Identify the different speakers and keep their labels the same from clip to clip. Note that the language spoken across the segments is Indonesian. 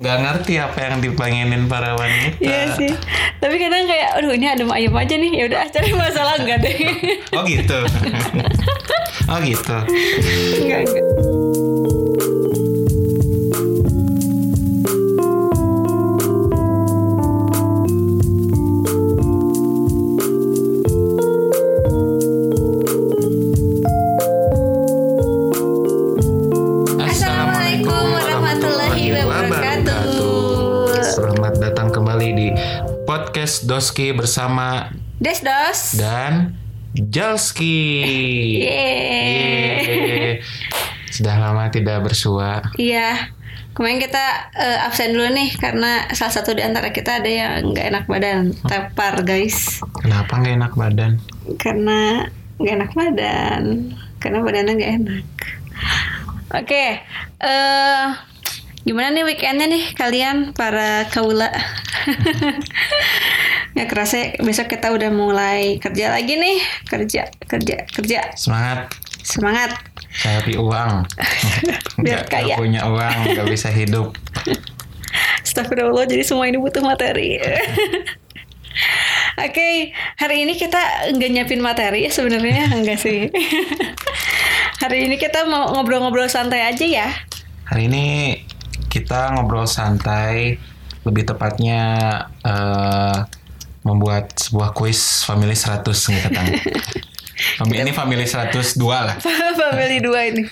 Speaker 1: nggak ngerti apa yang dipengenin para wanita.
Speaker 2: Iya sih. Tapi kadang kayak aduh ini adem ayem aja nih. Ya udah cari masalah enggak deh.
Speaker 1: Oh gitu. oh gitu.
Speaker 2: Enggak. enggak. Assalamualaikum warahmatullahi wabarakatuh.
Speaker 1: Selamat datang kembali di podcast Doski bersama
Speaker 2: Des dos.
Speaker 1: dan Jalski. Yeay.
Speaker 2: Yeay.
Speaker 1: Sudah lama tidak bersua.
Speaker 2: Iya. Kemarin kita eh, absen dulu nih karena salah satu di antara kita ada yang nggak enak badan, tepar guys.
Speaker 1: Kenapa nggak enak badan?
Speaker 2: Karena nggak enak badan, karena badannya nggak enak. Oke, eh gimana nih weekendnya nih kalian para kaula? Nggak kerasa ya, besok kita udah mulai kerja lagi nih, kerja kerja kerja,
Speaker 1: Semangat
Speaker 2: semangat.
Speaker 1: cari uang.
Speaker 2: Biar
Speaker 1: Nggak- nggak
Speaker 2: kaya.
Speaker 1: punya uang nggak bisa hidup.
Speaker 2: Astagfirullah, jadi semua ini butuh materi. Oke, hari ini kita nggak nyiapin materi ya sebenarnya enggak sih. hari ini kita mau ngobrol-ngobrol santai aja ya.
Speaker 1: Hari ini kita ngobrol santai, lebih tepatnya eh, membuat sebuah kuis Family 100 nih katanya. Fami- ini Family 102 lah.
Speaker 2: Family 2 ini.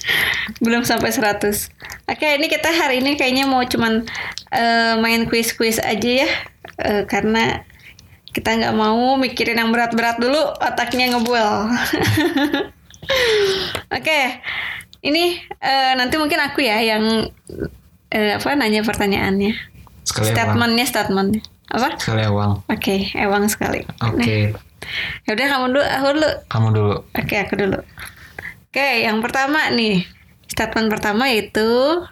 Speaker 2: Belum sampai 100. Oke, ini kita hari ini kayaknya mau cuman eh, main kuis-kuis aja ya. Eh, karena kita nggak mau mikirin yang berat-berat dulu, otaknya ngebul. Oke, ini eh, nanti mungkin aku ya yang eh, apa nanya pertanyaannya.
Speaker 1: Sekali uang.
Speaker 2: Statementnya, statementnya. Apa?
Speaker 1: Sekali uang.
Speaker 2: Oke, ewang sekali.
Speaker 1: Oke,
Speaker 2: Ya udah kamu dulu, aku dulu.
Speaker 1: kamu dulu.
Speaker 2: Oke, aku dulu. Oke, yang pertama nih. Statement pertama yaitu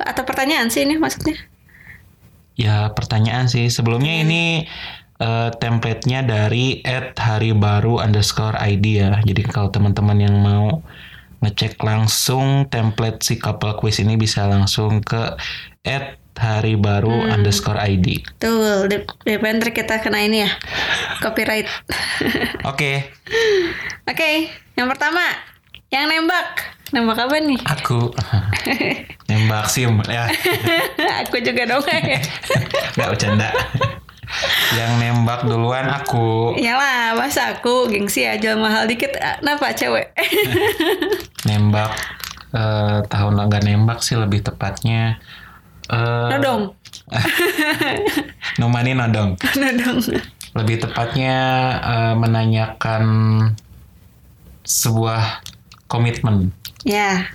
Speaker 2: atau pertanyaan sih ini maksudnya.
Speaker 1: Ya pertanyaan sih. Sebelumnya ini eh, template-nya dari @haribaru underscore ID ya. Jadi kalau teman-teman yang mau ngecek langsung template si couple quiz ini bisa langsung ke @haribaru underscore ID.
Speaker 2: Tuh, di- di pantry kita kena ini ya. Copyright.
Speaker 1: Oke,
Speaker 2: Oke, yang pertama, yang nembak. Nembak apa nih?
Speaker 1: aku nembak sim ya.
Speaker 2: aku juga dong.
Speaker 1: Nggak bercanda. yang nembak duluan aku.
Speaker 2: Iyalah, masa aku gengsi aja mahal dikit. Ah, Kenapa cewek?
Speaker 1: nembak eh, tahun nggak nembak sih lebih tepatnya eh
Speaker 2: Nodong.
Speaker 1: nomani nodong
Speaker 2: Nodong.
Speaker 1: lebih tepatnya eh, menanyakan sebuah komitmen
Speaker 2: Ya.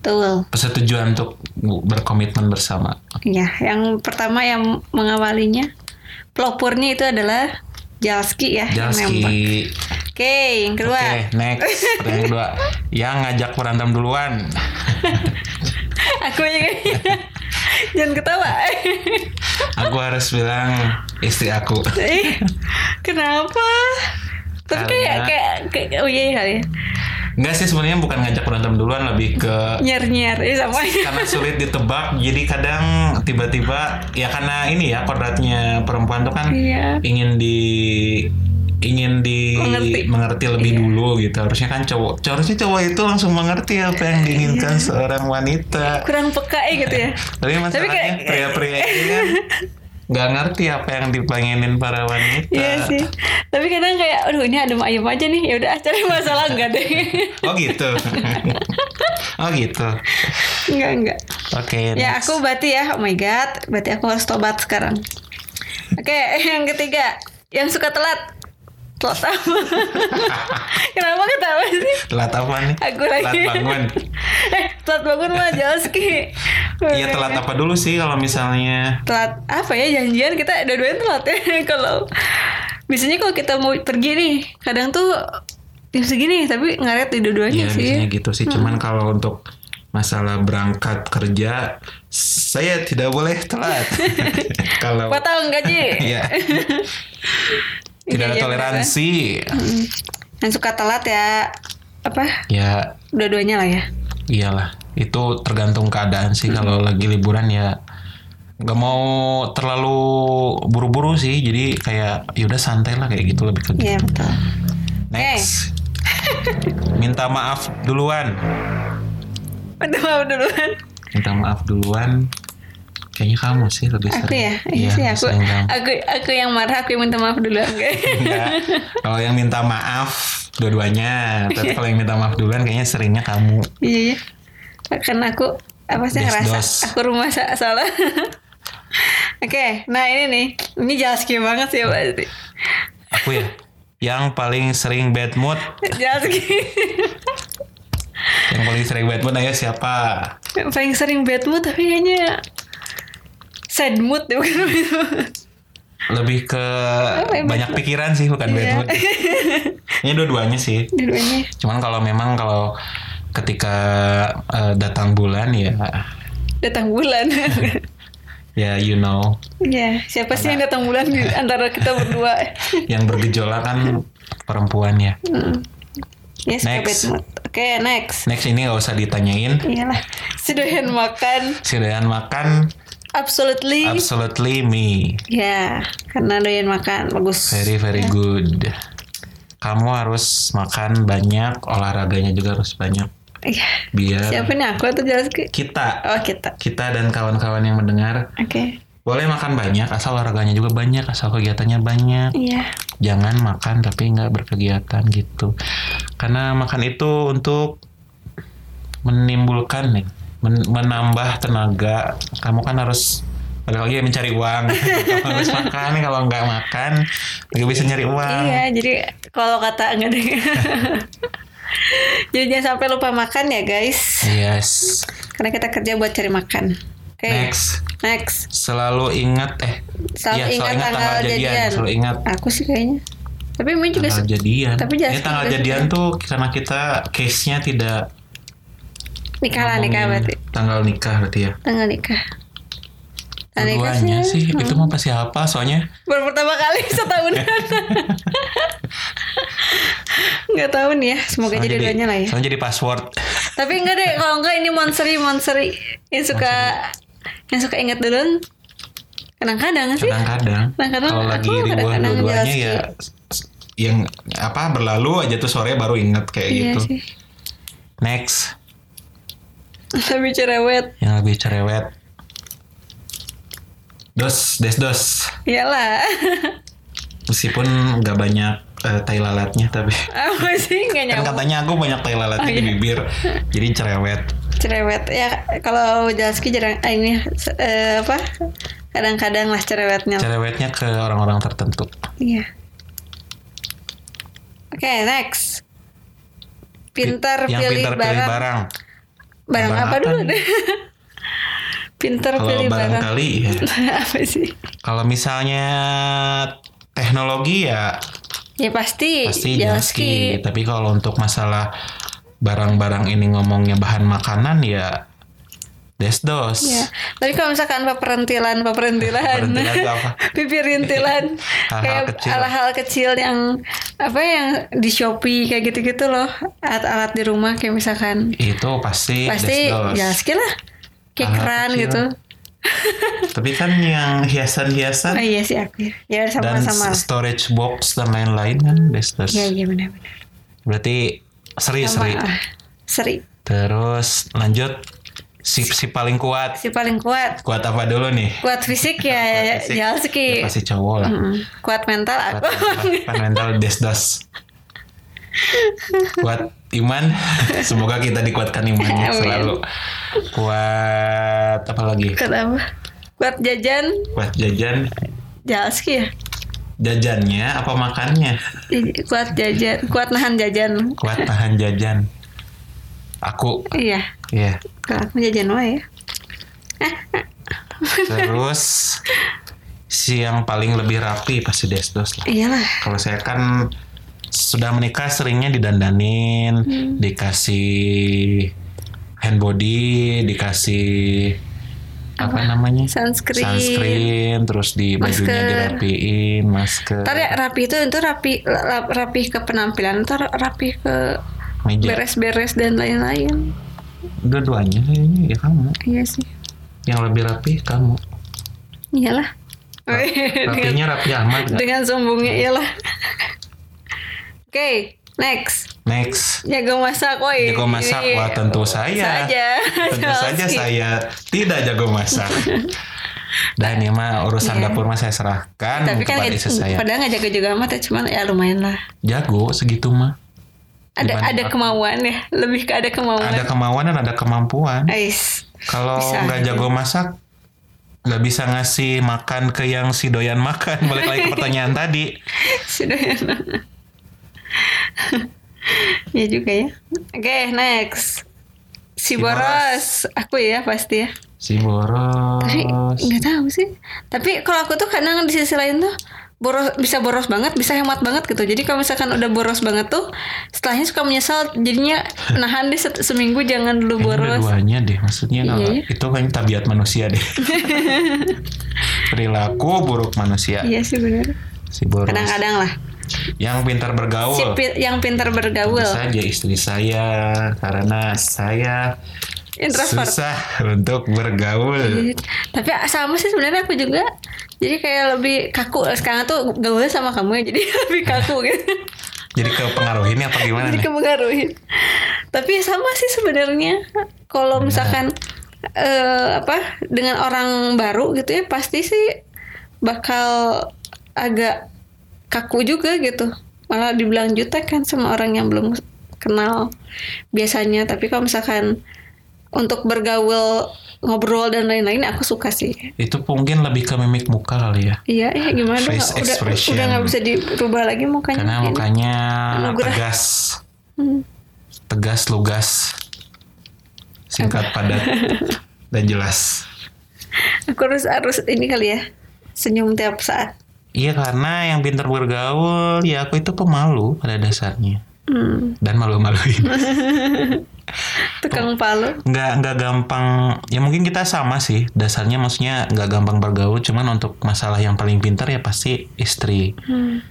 Speaker 2: Tuh.
Speaker 1: persetujuan untuk berkomitmen bersama
Speaker 2: Ya, yang pertama yang mengawalinya pelopornya itu adalah Jalski ya. yang nembak.
Speaker 1: Jalski
Speaker 2: Oke, yang
Speaker 1: oke
Speaker 2: kedua.
Speaker 1: next pertanyaan kedua yang ngajak berantem duluan
Speaker 2: Aku yang Jangan ketawa.
Speaker 1: aku harus bilang istri aku
Speaker 2: Ih, Eh, Kenapa? Tapi
Speaker 1: Karena-
Speaker 2: kayak kayak kayak- oh iya iya kali ya.
Speaker 1: Enggak sih sebenarnya bukan ngajak berantem duluan lebih ke
Speaker 2: Nyer-nyer eh, sama aja.
Speaker 1: karena sulit ditebak jadi kadang tiba-tiba ya karena ini ya kodratnya perempuan tuh kan
Speaker 2: Iya.
Speaker 1: ingin di ingin di
Speaker 2: Mengerti. Iya.
Speaker 1: lebih dulu gitu harusnya kan cowok harusnya cowok itu langsung mengerti apa
Speaker 2: Iya.
Speaker 1: yang diinginkan seorang wanita
Speaker 2: Kurang peka eh, gitu ya.
Speaker 1: tapi masalahnya
Speaker 2: kayak-
Speaker 1: pria-pria ini kan nggak ngerti apa yang dipengenin para wanita
Speaker 2: Iya sih. Tapi kadang kayak aduh ini adem ayem aja nih. Ya udah cari masalah enggak deh.
Speaker 1: oh gitu oh gitu
Speaker 2: Enggak enggak.
Speaker 1: oke
Speaker 2: Ya
Speaker 1: next.
Speaker 2: aku berarti ya, oh my god, berarti aku harus tobat sekarang. Oke, yang ketiga, yang suka telat. Telat apa? Kenapa ketawa sih?
Speaker 1: telat apa nih
Speaker 2: Aku lagi.
Speaker 1: telat bangun
Speaker 2: Eh, telat bangun mah Jalski.
Speaker 1: Iya telat apa dulu sih kalau misalnya
Speaker 2: Telat apa ya janjian kita dua-duanya telat ya kalau biasanya kalau kita mau pergi nih kadang tuh jam segini tapi ngaret di
Speaker 1: Iya
Speaker 2: dua-duanya sih. Hmm.
Speaker 1: biasanya gitu sih. Cuman kalau untuk masalah berangkat kerja, saya tidak boleh telat. kalau
Speaker 2: Potong gaji.
Speaker 1: ya tidak ada
Speaker 2: Iya, iya,
Speaker 1: toleransi,
Speaker 2: Mm. Yang suka telat ya apa?
Speaker 1: ya
Speaker 2: Dua-duanya lah ya. Hmm.
Speaker 1: iyalah. Itu tergantung keadaan sih. Kalau lagi liburan ya nggak mau terlalu buru-buru sih jadi kayak yaudah santai lah kayak gitu lebih ke gitu.
Speaker 2: Iya Eh. betul.
Speaker 1: next minta maaf duluan
Speaker 2: Udah mau duluan.
Speaker 1: minta maaf duluan kayaknya kamu sih lebih
Speaker 2: Aku
Speaker 1: sering
Speaker 2: ya, iya sih aku,
Speaker 1: sering kamu.
Speaker 2: aku, aku yang marah, aku yang minta maaf duluan, guys.
Speaker 1: Enggak. kalau yang minta maaf dua-duanya tapi kalau yang minta maaf duluan kayaknya seringnya kamu
Speaker 2: Iya, iya. Karena aku apa sih
Speaker 1: Des,
Speaker 2: ngerasa
Speaker 1: dos.
Speaker 2: aku rumah sa- salah. Oke, nah ini nih, ini jalski banget sih pasti.
Speaker 1: aku ya yang paling sering bad mood
Speaker 2: Jalski.
Speaker 1: yang paling sering bad mood ayo siapa
Speaker 2: Paling sering bad mood tapi kayaknya sad mood deh bukan bad mood.
Speaker 1: lebih ke
Speaker 2: yang bad
Speaker 1: banyak pikiran sih bukan bad
Speaker 2: Iya.
Speaker 1: mood ini dua-duanya sih
Speaker 2: Dua-duanya.
Speaker 1: cuman kalau memang kalau ketika eh, datang bulan ya
Speaker 2: datang bulan.
Speaker 1: ya you know
Speaker 2: ya, siapa sih yang datang bulan di antara kita berdua?
Speaker 1: yang bergejolak kan perempuan ya
Speaker 2: Mm. Ya, suka
Speaker 1: Next.
Speaker 2: bad mood. Oke, next.
Speaker 1: next ini nggak usah ditanyain
Speaker 2: Iyalah, si doyan makan
Speaker 1: si Dayan makan
Speaker 2: absolutely.
Speaker 1: absolutely me
Speaker 2: Ya, karena doyan makan bagus.
Speaker 1: very very good kamu harus makan banyak olahraganya juga harus banyak
Speaker 2: Iya.
Speaker 1: biar
Speaker 2: Siapa nih aku atau jelas ke?
Speaker 1: kita
Speaker 2: Oh kita.
Speaker 1: kita dan kawan-kawan yang mendengar
Speaker 2: Oke.
Speaker 1: boleh makan banyak asal olahraganya juga banyak asal kegiatannya banyak
Speaker 2: Iya.
Speaker 1: jangan makan tapi nggak berkegiatan gitu karena makan itu untuk menimbulkan nih men- menambah tenaga kamu kan harus balik lagi ya mencari uang Kamu harus makan kalau nggak makan nggak bisa nyari uang
Speaker 2: Iya. Jadi kalau kata enggak deh. jadi jangan sampai lupa makan ya guys.
Speaker 1: yes
Speaker 2: Karena kita kerja buat cari makan. Oke.
Speaker 1: next
Speaker 2: Next.
Speaker 1: selalu ingat eh
Speaker 2: Selalu
Speaker 1: iya,
Speaker 2: ingat tanggal jadian.
Speaker 1: selalu ingat
Speaker 2: Aku sih kayaknya. Tapi Min juga
Speaker 1: tanggal
Speaker 2: se-
Speaker 1: jadian
Speaker 2: tapi
Speaker 1: ini
Speaker 2: Justin
Speaker 1: tanggal
Speaker 2: juga
Speaker 1: jadian
Speaker 2: suka.
Speaker 1: tuh karena kita case nya tidak
Speaker 2: nikah lah nikah
Speaker 1: ngomongin
Speaker 2: berarti.
Speaker 1: tanggal nikah berarti ya
Speaker 2: Tanggal nikah. Tanggal nikah
Speaker 1: Keduanya sih
Speaker 2: Hmm.
Speaker 1: itu mah pasti apa soalnya
Speaker 2: Baru pertama kali setahunan. Nggak tahu nih ya. Semoga
Speaker 1: Soalnya
Speaker 2: jadi doanya lah ya. Iya.
Speaker 1: soalnya jadi password.
Speaker 2: Tapi enggak deh, kalau enggak ini monseri monseri yang suka yang suka ingat duluan. Kadang-kadang sih.
Speaker 1: Kadang-kadang
Speaker 2: Kadang-kadang
Speaker 1: kalau
Speaker 2: Nah,
Speaker 1: lagi
Speaker 2: aku
Speaker 1: di bawah
Speaker 2: kadang-kadang
Speaker 1: dua-duanya
Speaker 2: jelas
Speaker 1: ya s- yang apa berlalu aja tuh sore baru inget kayak
Speaker 2: Iya
Speaker 1: gitu.
Speaker 2: sih.
Speaker 1: Next
Speaker 2: Tapi cerewet.
Speaker 1: yang lebih cerewet. Dos, des dos.
Speaker 2: Iyalah.
Speaker 1: Meskipun nggak banyak eh, tai lalatnya tapi
Speaker 2: Apa sih nggak
Speaker 1: kan
Speaker 2: nyambung.
Speaker 1: katanya aku banyak tai lalatnya
Speaker 2: Ya Oh,
Speaker 1: di
Speaker 2: iya.
Speaker 1: bibir. Jadi cerewet.
Speaker 2: Cerewet ya kalau Jalski jarang eh, ini eh, apa? Kadang-kadang lah cerewetnya.
Speaker 1: Cerewetnya ke orang-orang tertentu.
Speaker 2: Iya. Oke, next. Pintar
Speaker 1: yang
Speaker 2: pilih
Speaker 1: pintar pilih
Speaker 2: barang. Oh, Barang,
Speaker 1: barang. barang
Speaker 2: apa
Speaker 1: apa
Speaker 2: dulu?
Speaker 1: nih?
Speaker 2: deh? pintar
Speaker 1: Kalau
Speaker 2: pilih barang.
Speaker 1: barangkali ya.
Speaker 2: apa sih?
Speaker 1: Kalau misalnya teknologi ya
Speaker 2: Ya pasti.
Speaker 1: pasti gitu.
Speaker 2: ya
Speaker 1: Jaski. Tapi kalau untuk masalah barang-barang ini ngomongnya bahan makanan ya desdos.
Speaker 2: Ya. Tapi kalau misalkan peperentilan, peperentilan,
Speaker 1: Peperentilan itu apa?
Speaker 2: pipi rintilan,
Speaker 1: Hal-hal
Speaker 2: kayak
Speaker 1: kecil.
Speaker 2: hal-hal kecil yang apa yang di Shopee kayak gitu-gitu loh, alat-alat di rumah kayak misalkan
Speaker 1: Itu pasti,
Speaker 2: pasti
Speaker 1: desdos.
Speaker 2: Jaski lah, kayak
Speaker 1: Hal-hal
Speaker 2: keran
Speaker 1: kecil.
Speaker 2: gitu.
Speaker 1: Tapi kan yang
Speaker 2: Oh
Speaker 1: hiasan-hiasan
Speaker 2: iya sih aku ya, ya
Speaker 1: dan
Speaker 2: sama-sama. lah.
Speaker 1: storage box dan lain-lain kan desdos.
Speaker 2: Iya iya benar-benar.
Speaker 1: Berarti
Speaker 2: Sama
Speaker 1: seri-seri.
Speaker 2: ah, seri.
Speaker 1: Terus lanjut si, si paling kuat.
Speaker 2: Si paling kuat,
Speaker 1: Kuat apa dulu nih?
Speaker 2: kuat fisik ya
Speaker 1: Fisik. Ya,
Speaker 2: Jalski.
Speaker 1: pasti cowok lah.
Speaker 2: Mm-mm. Kuat mental aku.
Speaker 1: Kan mental desdas. Kuat iman. Semoga kita dikuatkan imannya
Speaker 2: Amin.
Speaker 1: selalu. Kuat apa lagi?
Speaker 2: Kuat apa? Kuat jajan
Speaker 1: Kuat jajan.
Speaker 2: Jalski ya.
Speaker 1: Jajannya apa makannya?
Speaker 2: Jadi, Kuat jajan, kuat nahan jajan.
Speaker 1: Kuat tahan jajan. Aku
Speaker 2: Iya,
Speaker 1: ya.
Speaker 2: kalau aku jajan wae ya.
Speaker 1: Terus si yang paling lebih rapi pasti desdos lah.
Speaker 2: Iyalah.
Speaker 1: Kalau saya kan sudah menikah seringnya didandanin,
Speaker 2: Hmm.
Speaker 1: dikasih hand body, dikasih apa, namanya?
Speaker 2: Sunscreen.
Speaker 1: Sunscreen, terus di bajunya
Speaker 2: Masker.
Speaker 1: dirapiin, masker.
Speaker 2: Ntar ya rapi itu itu rapi la- rapi ke penampilan, ntar rapi ke
Speaker 1: meja.
Speaker 2: beres-beres dan lain-lain.
Speaker 1: Dua-duanya kayaknya ya kamu.
Speaker 2: Iya sih.
Speaker 1: Yang lebih rapi kamu.
Speaker 2: Iyalah. dengan,
Speaker 1: Rapinya rapi amat nggak?
Speaker 2: dengan
Speaker 1: Nah.
Speaker 2: sombongnya iyalah. Oke, next.
Speaker 1: Next.
Speaker 2: Jago masak, woi.
Speaker 1: Jago masak,
Speaker 2: Ini
Speaker 1: wah tentu saya.
Speaker 2: Saja.
Speaker 1: Tentu saja saya tidak jago masak. Dan ya mah urusan
Speaker 2: Iya.
Speaker 1: dapur mah saya serahkan
Speaker 2: Tapi kan
Speaker 1: kepada
Speaker 2: nggak-
Speaker 1: istri saya.
Speaker 2: padahal nggak jago-jago amat ya, cuman ya lumayan lah.
Speaker 1: Jago segitu mah.
Speaker 2: Ada
Speaker 1: Dibanding
Speaker 2: ada
Speaker 1: aku.
Speaker 2: kemauan ya, lebih ke ada kemauan.
Speaker 1: Ada kemauan dan ada kemampuan.
Speaker 2: Ais.
Speaker 1: Kalau
Speaker 2: Oh. Bisa
Speaker 1: nggak
Speaker 2: aja.
Speaker 1: jago masak, nggak bisa ngasih makan ke yang si doyan makan. Balik lagi ke pertanyaan tadi.
Speaker 2: Sudah ya. ya juga ya. Oke, next. Si
Speaker 1: Si
Speaker 2: Boros, aku ya pasti ya.
Speaker 1: Si boros.
Speaker 2: Tapi nggak tahu sih. Tapi kalau aku tuh kadang di sisi lain tuh boros bisa boros banget, bisa hemat banget gitu. Jadi kalau misalkan udah boros banget tuh, setelahnya suka menyesal. Jadinya nahan deh se- seminggu jangan
Speaker 1: Kayaknya
Speaker 2: dulu boros.
Speaker 1: dua-duanya deh. Maksudnya kalau
Speaker 2: Iya, iya.
Speaker 1: itu kayaknya tabiat manusia deh. Perilaku buruk manusia.
Speaker 2: Iya sih benar.
Speaker 1: Si boros.
Speaker 2: Kadang-kadang lah.
Speaker 1: Yang pintar bergaul.
Speaker 2: Si pi- yang pintar
Speaker 1: Tentu
Speaker 2: bergaul,
Speaker 1: saja istri saya karena saya
Speaker 2: introvert.
Speaker 1: susah untuk bergaul.
Speaker 2: Tapi sama sih sebenarnya aku juga. Jadi kayak lebih kaku sekarang tuh gaulnya sama kamu ya. Jadi lebih kaku gitu.
Speaker 1: Jadi kepengaruhinnya apa gimana
Speaker 2: jadi
Speaker 1: nih?
Speaker 2: kemengaruhi. Tapi sama sih sebenarnya. Kalau misalkan eh, apa dengan orang baru gitu ya pasti sih bakal agak kaku juga gitu. Malah dibilang jutek kan sama orang yang belum kenal biasanya. Tapi kalau misalkan untuk bergaul, ngobrol dan lain-lain aku suka sih.
Speaker 1: Itu mungkin lebih ke mimik muka kali ya.
Speaker 2: Iya, iya gimana dong,
Speaker 1: Face
Speaker 2: nggak- udah
Speaker 1: expression.
Speaker 2: udah nggak bisa dirubah lagi mukanya.
Speaker 1: Karena
Speaker 2: mungkin.
Speaker 1: mukanya
Speaker 2: Anugerah.
Speaker 1: tegas,
Speaker 2: Hmm.
Speaker 1: tegas, lugas, singkat, padat, dan jelas.
Speaker 2: Aku harus harus ini kali ya senyum tiap saat.
Speaker 1: Iya karena yang pintar bergaul ya aku itu pemalu pada dasarnya
Speaker 2: Hmm,
Speaker 1: dan malu-maluin. Oh.
Speaker 2: tukang palu.
Speaker 1: Nggak nggak gampang ya mungkin kita sama sih dasarnya maksudnya nggak gampang bergaul cuman untuk masalah yang paling pintar ya pasti istri.
Speaker 2: Hmm.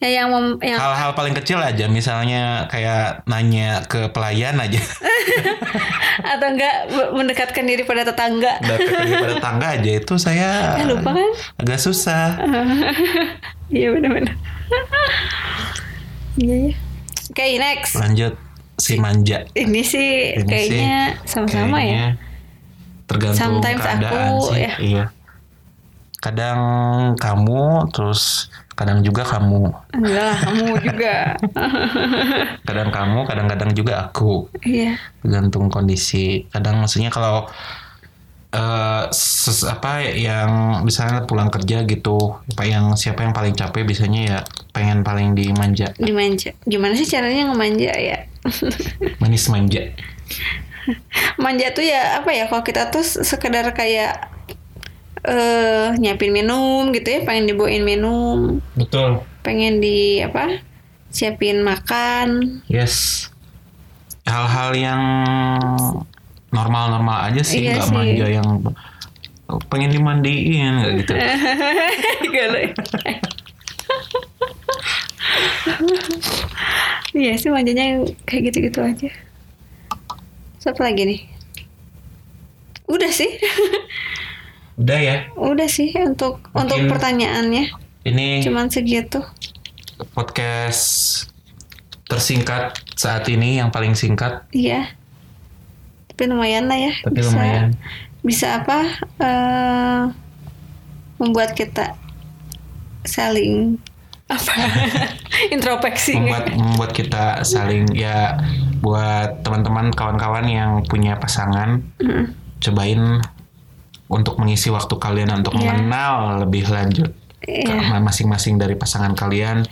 Speaker 2: Ya yang mem, yang
Speaker 1: Hal-hal paling kecil aja misalnya kayak nanya ke pelayan aja
Speaker 2: atau enggak be- mendekatkan diri pada tetangga.
Speaker 1: dan pada tangga aja itu saya
Speaker 2: Ya lupa kan?
Speaker 1: agak susah.
Speaker 2: Iya benar-benar. Iya ya. Oke next.
Speaker 1: Lanjut si manja.
Speaker 2: Ini sih
Speaker 1: Ini
Speaker 2: kayaknya sama-sama ya.
Speaker 1: Kayaknya Tergantung
Speaker 2: Sometimes
Speaker 1: keadaan
Speaker 2: aku,
Speaker 1: sih.
Speaker 2: ya.
Speaker 1: Iya. Kadang kamu, terus kadang juga kamu.
Speaker 2: Ah, Enggak lah kamu juga.
Speaker 1: Kadang kamu, kadang-kadang juga aku.
Speaker 2: Iya.
Speaker 1: Tergantung kondisi. Kadang maksudnya kalau eh ses- apa yang misalnya pulang kerja gitu, apa yang siapa yang paling capek biasanya ya pengen paling dimanja,
Speaker 2: Dimanja. Gimana sih caranya ngemanja ya?
Speaker 1: manis manja.
Speaker 2: manja tuh ya apa ya kalau kita tuh sekedar kayak eh nyiapin minum gitu ya pengen dibawain minum
Speaker 1: Betul.
Speaker 2: pengen di apa siapin makan
Speaker 1: Yes. Hal-hal yang normal-normal aja sih,
Speaker 2: Iya
Speaker 1: nggak
Speaker 2: sih.
Speaker 1: manja yang pengen dimandiin nggak gitu.
Speaker 2: Eh. Galau. iya sih manjanya yang kayak gitu-gitu aja siapa lagi nih udah sih
Speaker 1: Udah ya.
Speaker 2: udah sih untuk untuk
Speaker 1: Mungkin-
Speaker 2: pertanyaannya
Speaker 1: Ini
Speaker 2: cuman segitu
Speaker 1: podcast tersingkat saat ini yang paling singkat,
Speaker 2: Iya. Tapi lumayan lah ya.
Speaker 1: tapi lumayan.
Speaker 2: Bisa apa? eh, membuat kita saling apa? introspeksi.
Speaker 1: membuat membuat kita saling ya buat teman-teman kawan-kawan yang punya pasangan
Speaker 2: Mm.
Speaker 1: cobain untuk mengisi waktu kalian untuk
Speaker 2: Iya.
Speaker 1: mengenal lebih lanjut
Speaker 2: Iya.
Speaker 1: ke- masing-masing dari pasangan kalian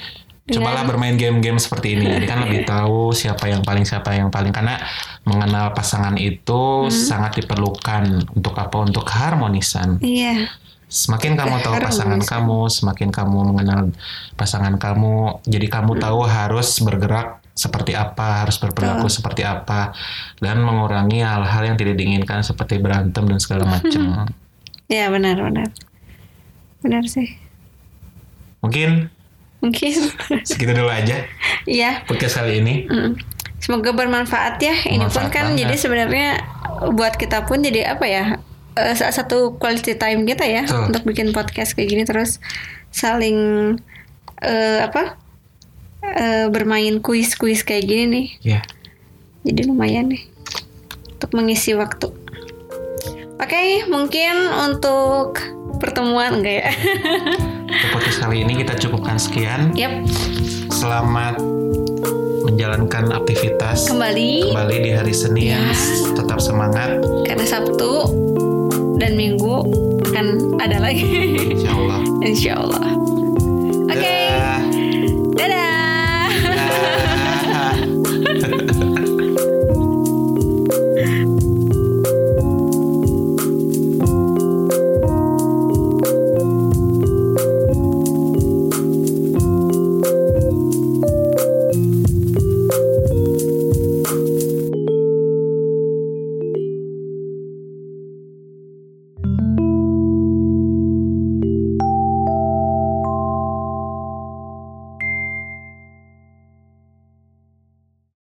Speaker 1: cobalah bermain game-game seperti ini jadi kan
Speaker 2: Iya.
Speaker 1: lebih tahu siapa yang paling siapa yang paling karena mengenal pasangan
Speaker 2: Hmm.
Speaker 1: itu sangat diperlukan untuk apa untuk keharmonisan
Speaker 2: Iya.
Speaker 1: semakin kamu tahu pasangan
Speaker 2: Keharmonisan.
Speaker 1: kamu semakin kamu mengenal pasangan kamu jadi kamu tahu harus bergerak seperti apa harus berperilaku seperti apa dan mengurangi hal-hal yang tidak diinginkan seperti berantem dan segala macam
Speaker 2: Iya benar benar. Benar sih.
Speaker 1: mungkin
Speaker 2: Mungkin.
Speaker 1: segitu dulu aja
Speaker 2: Iya.
Speaker 1: podcast kali ini
Speaker 2: Mm. Semoga bermanfaat ya. Ini pun
Speaker 1: Bermanfaat
Speaker 2: kan
Speaker 1: banget.
Speaker 2: jadi sebenarnya buat kita pun jadi apa ya? eh, salah satu quality time kita ya
Speaker 1: Betul.
Speaker 2: untuk bikin podcast kayak gini terus saling eh, apa eh, bermain kuis-kuis kayak gini nih
Speaker 1: Ya.
Speaker 2: jadi lumayan nih untuk mengisi waktu. Oke, mungkin untuk pertemuan enggak ya?
Speaker 1: Untuk podcast kali ini kita cukupkan sekian.
Speaker 2: Yap,
Speaker 1: Selamat menjalankan aktivitas
Speaker 2: kembali
Speaker 1: kembali di hari Senin.
Speaker 2: Ya.
Speaker 1: Tetap semangat,
Speaker 2: karena Sabtu dan Minggu akan ada lagi.
Speaker 1: Insya Allah.
Speaker 2: Insya Allah.